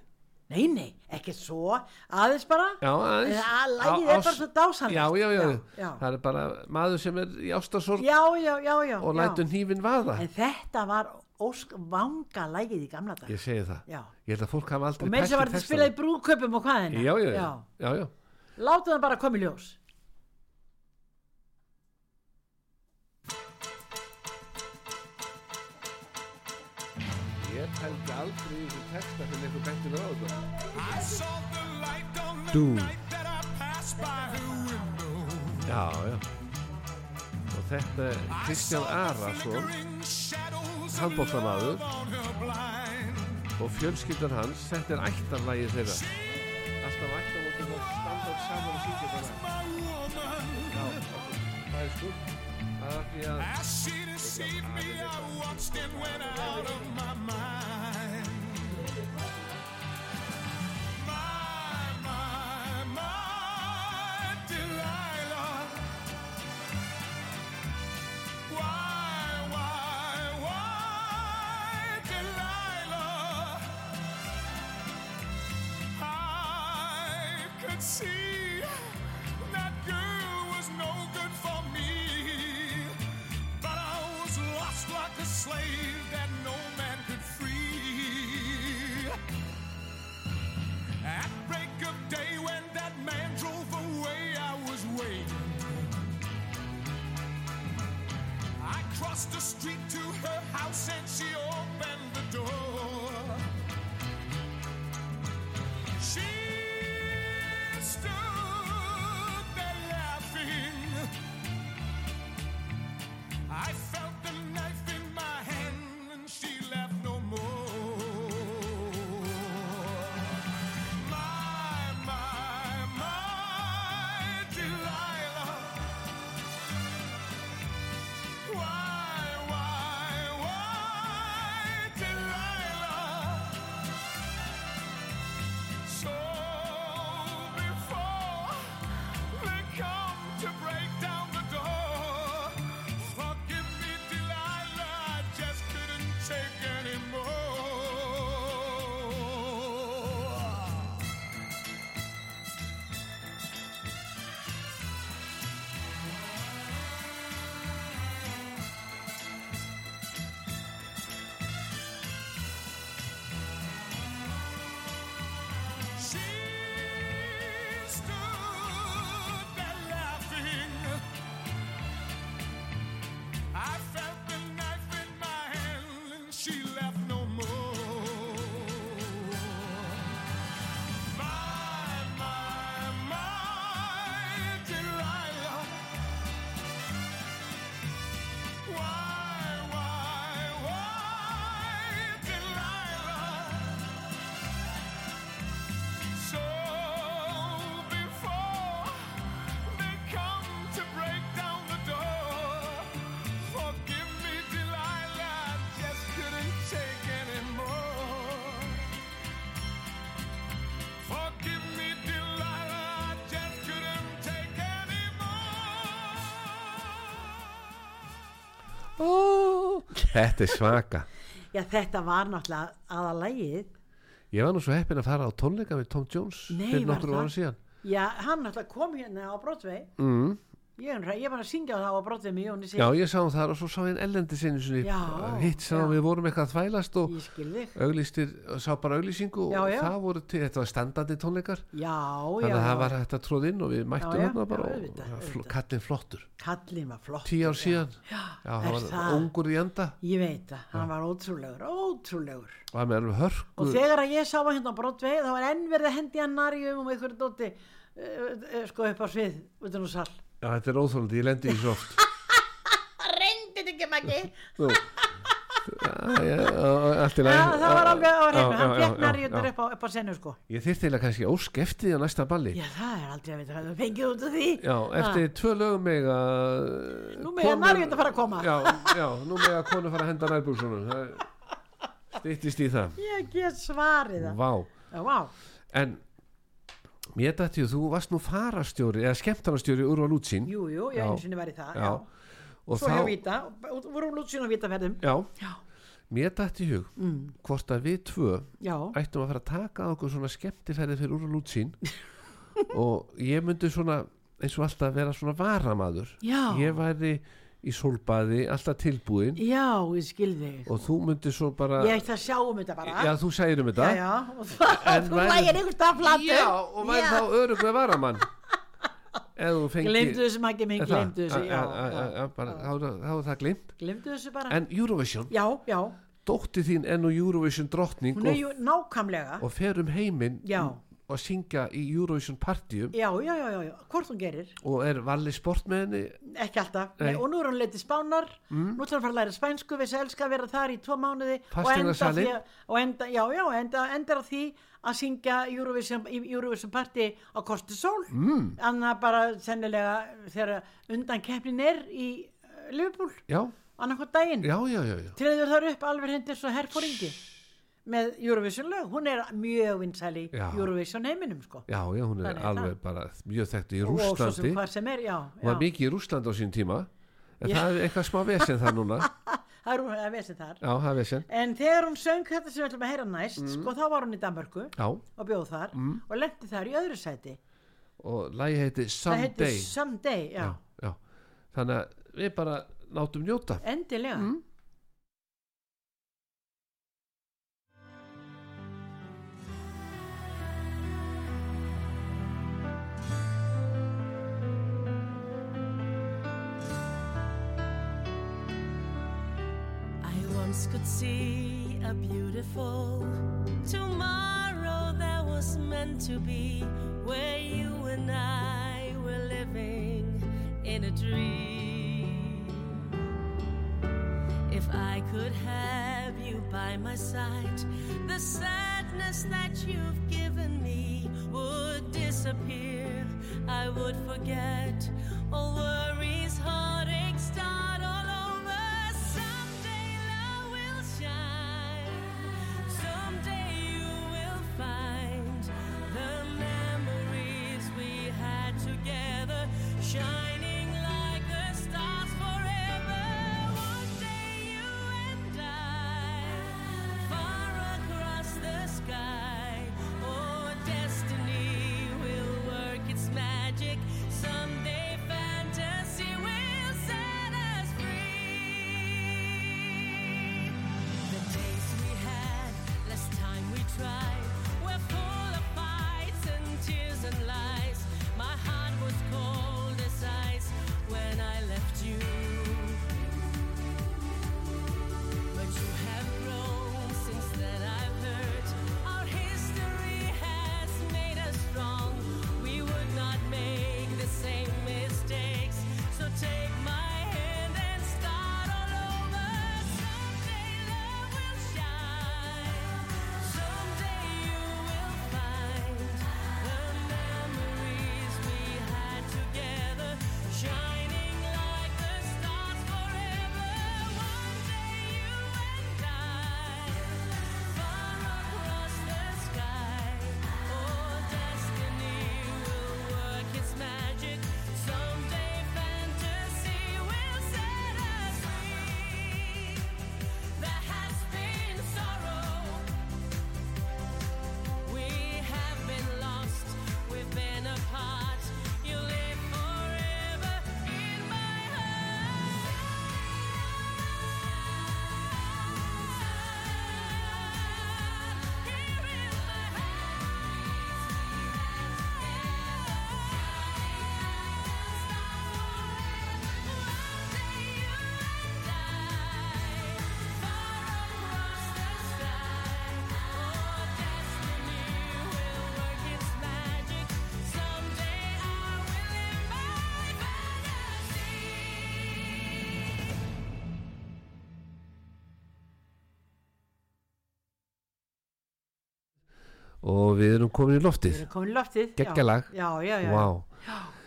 Nei, nei, ekki svo. Aðeins bara.
Já, aðeins.
En að lagið
Á-
er bara
ást-
svo dásamlegt.
Já, já, já,
Já, já.
Það er bara maður sem er í ástasorg
Já, já, já, já.
og
já.
lætur hnífin vaða.
En þetta var ósk vanga lægið í gamla dag.
Ég segi það.
Já.
Ég held að fólk hafa aldrei
Og með þess að var þetta spilað í brúköpum og hvað hennar.
Já, já, já. já, já.
Látum það bara koma í ljós.
Ég pældi aldrei í þessu texta fyrir einhver bætti mér á sko. þetta.
I saw the light on the
Doom.
night that I passed by her window.
Já, já. Og þetta er Kristján Arason
Flickering shadows of
handbóttamaður
on her blind.
og fjölskyldan hans, þetta er ættarlægið þeirra. Alltaf ættarlægið þeirra standa og saman og syngja bara.
My woman,
Já, það er sko. Það er ekki að...
as she deceived me, I watched and went out of my mind. My, my, my Delilah. Why, why, why, Delilah? I could see that girl was no good for me. But I was lost like a slave that no man could free. At break of day, when that man drove away, I was waiting. I crossed the street to her house and she opened the door. She stood there laughing. I felt the knife in my hand and she left no more. My, my, my Delilah. Why, why, why, Delilah? So before they come to break down the door, forgive me, Delilah, I just couldn't take anymore. she left no more. My, my, my Delilah. Why, why, why, Delilah? So before they come to break down the door, forgive me, Delilah, I just couldn't take anymore. Forgive me, Delilah, I just couldn't take anymore.
Ó, Þetta er svaka
Já, þetta var náttúrulega aðalægið.
Ég var nú svo heppin að fara á tónleika með Tom Jones
Nei,
fyrir
var
nokkru
það?
ára síðan
Já, hann náttúrulega kom hérna á Broadway.
mm.
Ég, er nú hræ- ég var að syngja á það á Broadway með Jóni
Já,
Sig.
ég sá hann þar og svo sá ég en ellendi sinni sinni,
Já,
hitt sá
já.
við vorum eitthvað að þvælast og
Ég skil þig.
auglýstir, sá bara auglýsingu og
Já, já.
það voru til, þetta var standandi tónleikar
Já, já.
þannig að það
já.
var hægt að tróða inn og við mættum
Já, já,
hérna bara
já,
og
auðvitað,
það var fl-
auðvitað.
kallinn flottur
Kallin var flott.
tíu ár síðan já,
er
það var
það?
ungur í enda
Ég veit það, hann var ótrúlegur, ótrúlegur.
og það með alveg
Og
hörku
þegar að ég sá hann hérna á Broadway, þá var enn verið að hendi hann narjum um einhverju dóti, uh, uh, sko upp á svið, utan úr sall.
já, þetta er óþólandi, ég lendi í svo oft
Reyndi þetta ekki maggi. [laughs]
Nú. Já, já, já, allt í
Já,
lagi.
það var alveg á
Já,
reynu, hann
já, já,
fekk
já,
narjundur
já.
upp á, upp á senu sko.
ég þyrfti eiginlega kannski óskeftið á næsta balli
Já, það er aldrei að vita hvað það fengið út af því. Ah,
Já, eftir tvö lögum mig að
Nú mega
konur-
narjurnar fara að koma.
Já, já, nú mig að konu fara að henda nærbúksunum Stýttist í það
Ég get svarið það.
Vá,
Já, vá.
en mér dætti þú varst nú farastjóri eða skemmtarastjóri úr á lútsín
Jú, jú,
Já.
ég eins og niður var í það,
Já.
já.
og
Svo hjá
þá,
Víta, og- og vorum lútsinu á Vítaferðum.
já,
Já, Mm.
mér dætti í hug hvort að við tvö
já,
ættum að fara að taka á okkur svona skemmtiferði fyrir úr á lútsín [laughs] og ég myndi svona eins og alltaf vera svona varamaður
Já.
ég væri í sólbaði alltaf tilbúin
já, ég skil þig.
og þú myndi svo bara
Ég ætti að sjá um þetta bara.
Já, þú segir um þetta
Já, já, og það,
En
[laughs] þú
væri-
lægir einhvers stað flatur.
Já, og væri þá öruglega varamann Ef þú fengi
Glemdu þessu, Maggi minn,
Er það?
glemdu þessu, já.
A- a- a-
já.
a- bara- Þá er það- þá er það glimt
Glemdu þessu bara.
En Eurovision,
Já, já,
dótti þín enn og Eurovision drottning
hún er
og,
ju nákvæmlega.
og fer um heiminn
Já.
og syngja í Eurovision partíum
Já, já, já, já, já, hvort hún gerir.
og er valli sport með henni
ekki alltaf,
Nei. Mm.
Nei. og nú er hann leitið spánar nú ætlar hann að fara að læra spænsku við sem elska að vera þar í tvo mánuði og enda, á
Fasteignasalinn.
því að, og enda, já, já, enda, endar á því að syngja Eurovision, í Eurovision Party á Kosti Sól mm. annað bara sennilega þegar undan keppnin er í uh, Liverpool,
Já,
annað hvað daginn
já, já, já, já.
treður þar upp alveg hendur svo herfóringi með Eurovision lög, hún er mjög vinsæli í
Já.
Eurovision heiminum sko
Já, já, hún er
Þannig er
alveg bara mjög þekkt í
og svo sem
Rússlandi
hvað sem er, já,
Hún var
já.
mikið í Rússlandi á sín tíma En
Já.
það er eitthvað smá vesen það núna
það er hún að vesi þar
Já, það er vesen
En þegar hún söng þetta sem við ætlum að heyra næst,
Mm.
sko, þá var hún í Danmörku
Já,
og bjóð þar
Mm.
og lendi þar í öðru sæti.
og lagi heiti
Það
Someday
heitir Someday, já,
já, já. þannig að við bara nátum njóta
endilega.
Mm.
I once could see a beautiful tomorrow that was meant to be, where you and I were living in a dream. If I could have you by my side, the sadness that you've given me would disappear. I would forget all worries, heartaches, start all over. Someday love will shine. Someday you will find the memories we had together shining like the stars forever. One day you and I, far across the sky, oh, destiny will work its magic. Someday fantasy
og við erum komin í loftið
Við erum komin í loftið. já.
Geggjalag.
Já, já, já.
wow.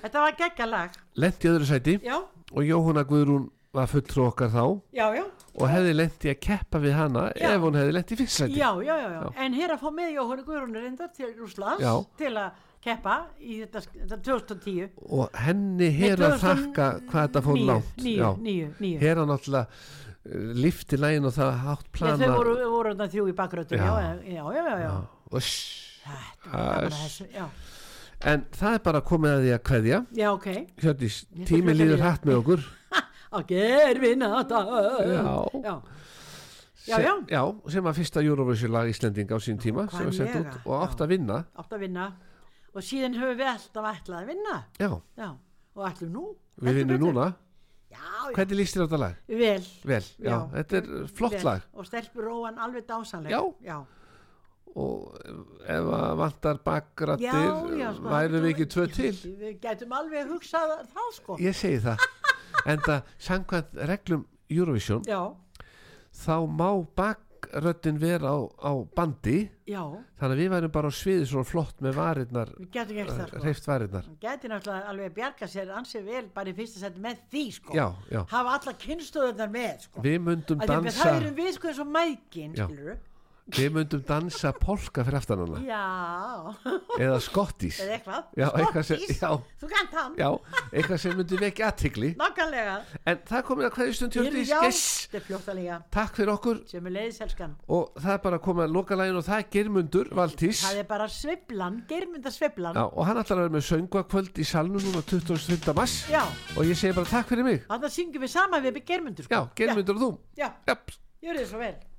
Þetta var geggjalag.
lent í öðru sæti
Já,
og Jóhanna Guðrún var fulltrú okkar þá
já, já.
og hefði lent í að keppa við hana
Já.
ef hún hefði lent í fyrst sæti
Já, já, já, já.
Já.
En hér að fá með Jóhannu Guðrúnu reyndar til Rúslands
Já.
til að keppa í þetta, þetta 2010.
og henni hér að
2009,
þakka hvað þetta fór langt
Níu, níu, níu.
hér að náttúrulega lifti lægin og það hátt
Já,
plana
þau voru, voru þarna þrjú í bakrötum, já,
Já.
já, já, já, já.
og sss.
Þetta var gaman að
Æs.
þessu, já.
en það er bara komið að því að kveðja
Já, ok.
Hjördís,
Ég skal
tími
fletta
líður
líða.
hætt með okkur
Á gerfin að
Já.
Já, Já, já.
sem, sem að fyrsta Eurovision lag Íslendinga á sín tíma sem var sett út
Hvaðanlega,
og átt að vinna
átt að vinna. Og síðan höfum við alltaf ætlað að vinna.
já,
Já, og ætlum nú.
við
Heldur
vinnum
betur.
núna
Já,
hvernig líst þér á þetta lag?
já, vel.
vel, já,
Já.
þetta er flott
vel.
lag
Og stelpur róan alveg dásanleg.
Já.
Já,
og ef að vantar bakrættir
sko,
værum við ekki tvö til
Við gætum alveg hugsað það, sko.
ég segi það en það samkvæmt reglum Eurovision
Já,
þá má bakröttin vera á, á bandi
já,
þannig að við værum bara á sviði svona flott með varirnar
við gætum gert það, sko.
reyft varirnar
Hann gæti náttúrulega alveg bjarga sér ansið vel bara í fyrsta seti með því sko
já, já,
hafa alla kynnstöðunar með sko
við myndum
Af því að
dansa
það erum við sko eins og mækin
Já.
skilur
við myndum dansa polka fyrir aftan hana
já,
eða skottis
eða eitthvað
Já, eitthvað sem-
Skottís.
já.
þú gænt hann,
já, eitthvað sem myndum við ekki aðtikli
nákvæmlega
en það er komið að hverju stund
Heyrðu,
Hjördís
já,
yes!
þetta er fljóttalega
takk fyrir okkur
sem er leiðiselskan
og það er bara að koma að loka lægin og það er Girmundur Valtís
það er bara sviblan, geirmynda sviblan
Já, og hann ætlar að vera með söngvakvöld í salnum núna 25. mars
já.
og ég segi bara takk fyrir mig
þannig að syngjum við saman við geirmyndur sko
Já, Geirmundur og þú
já, já,
Japs.
gjörðu þið svo vel
um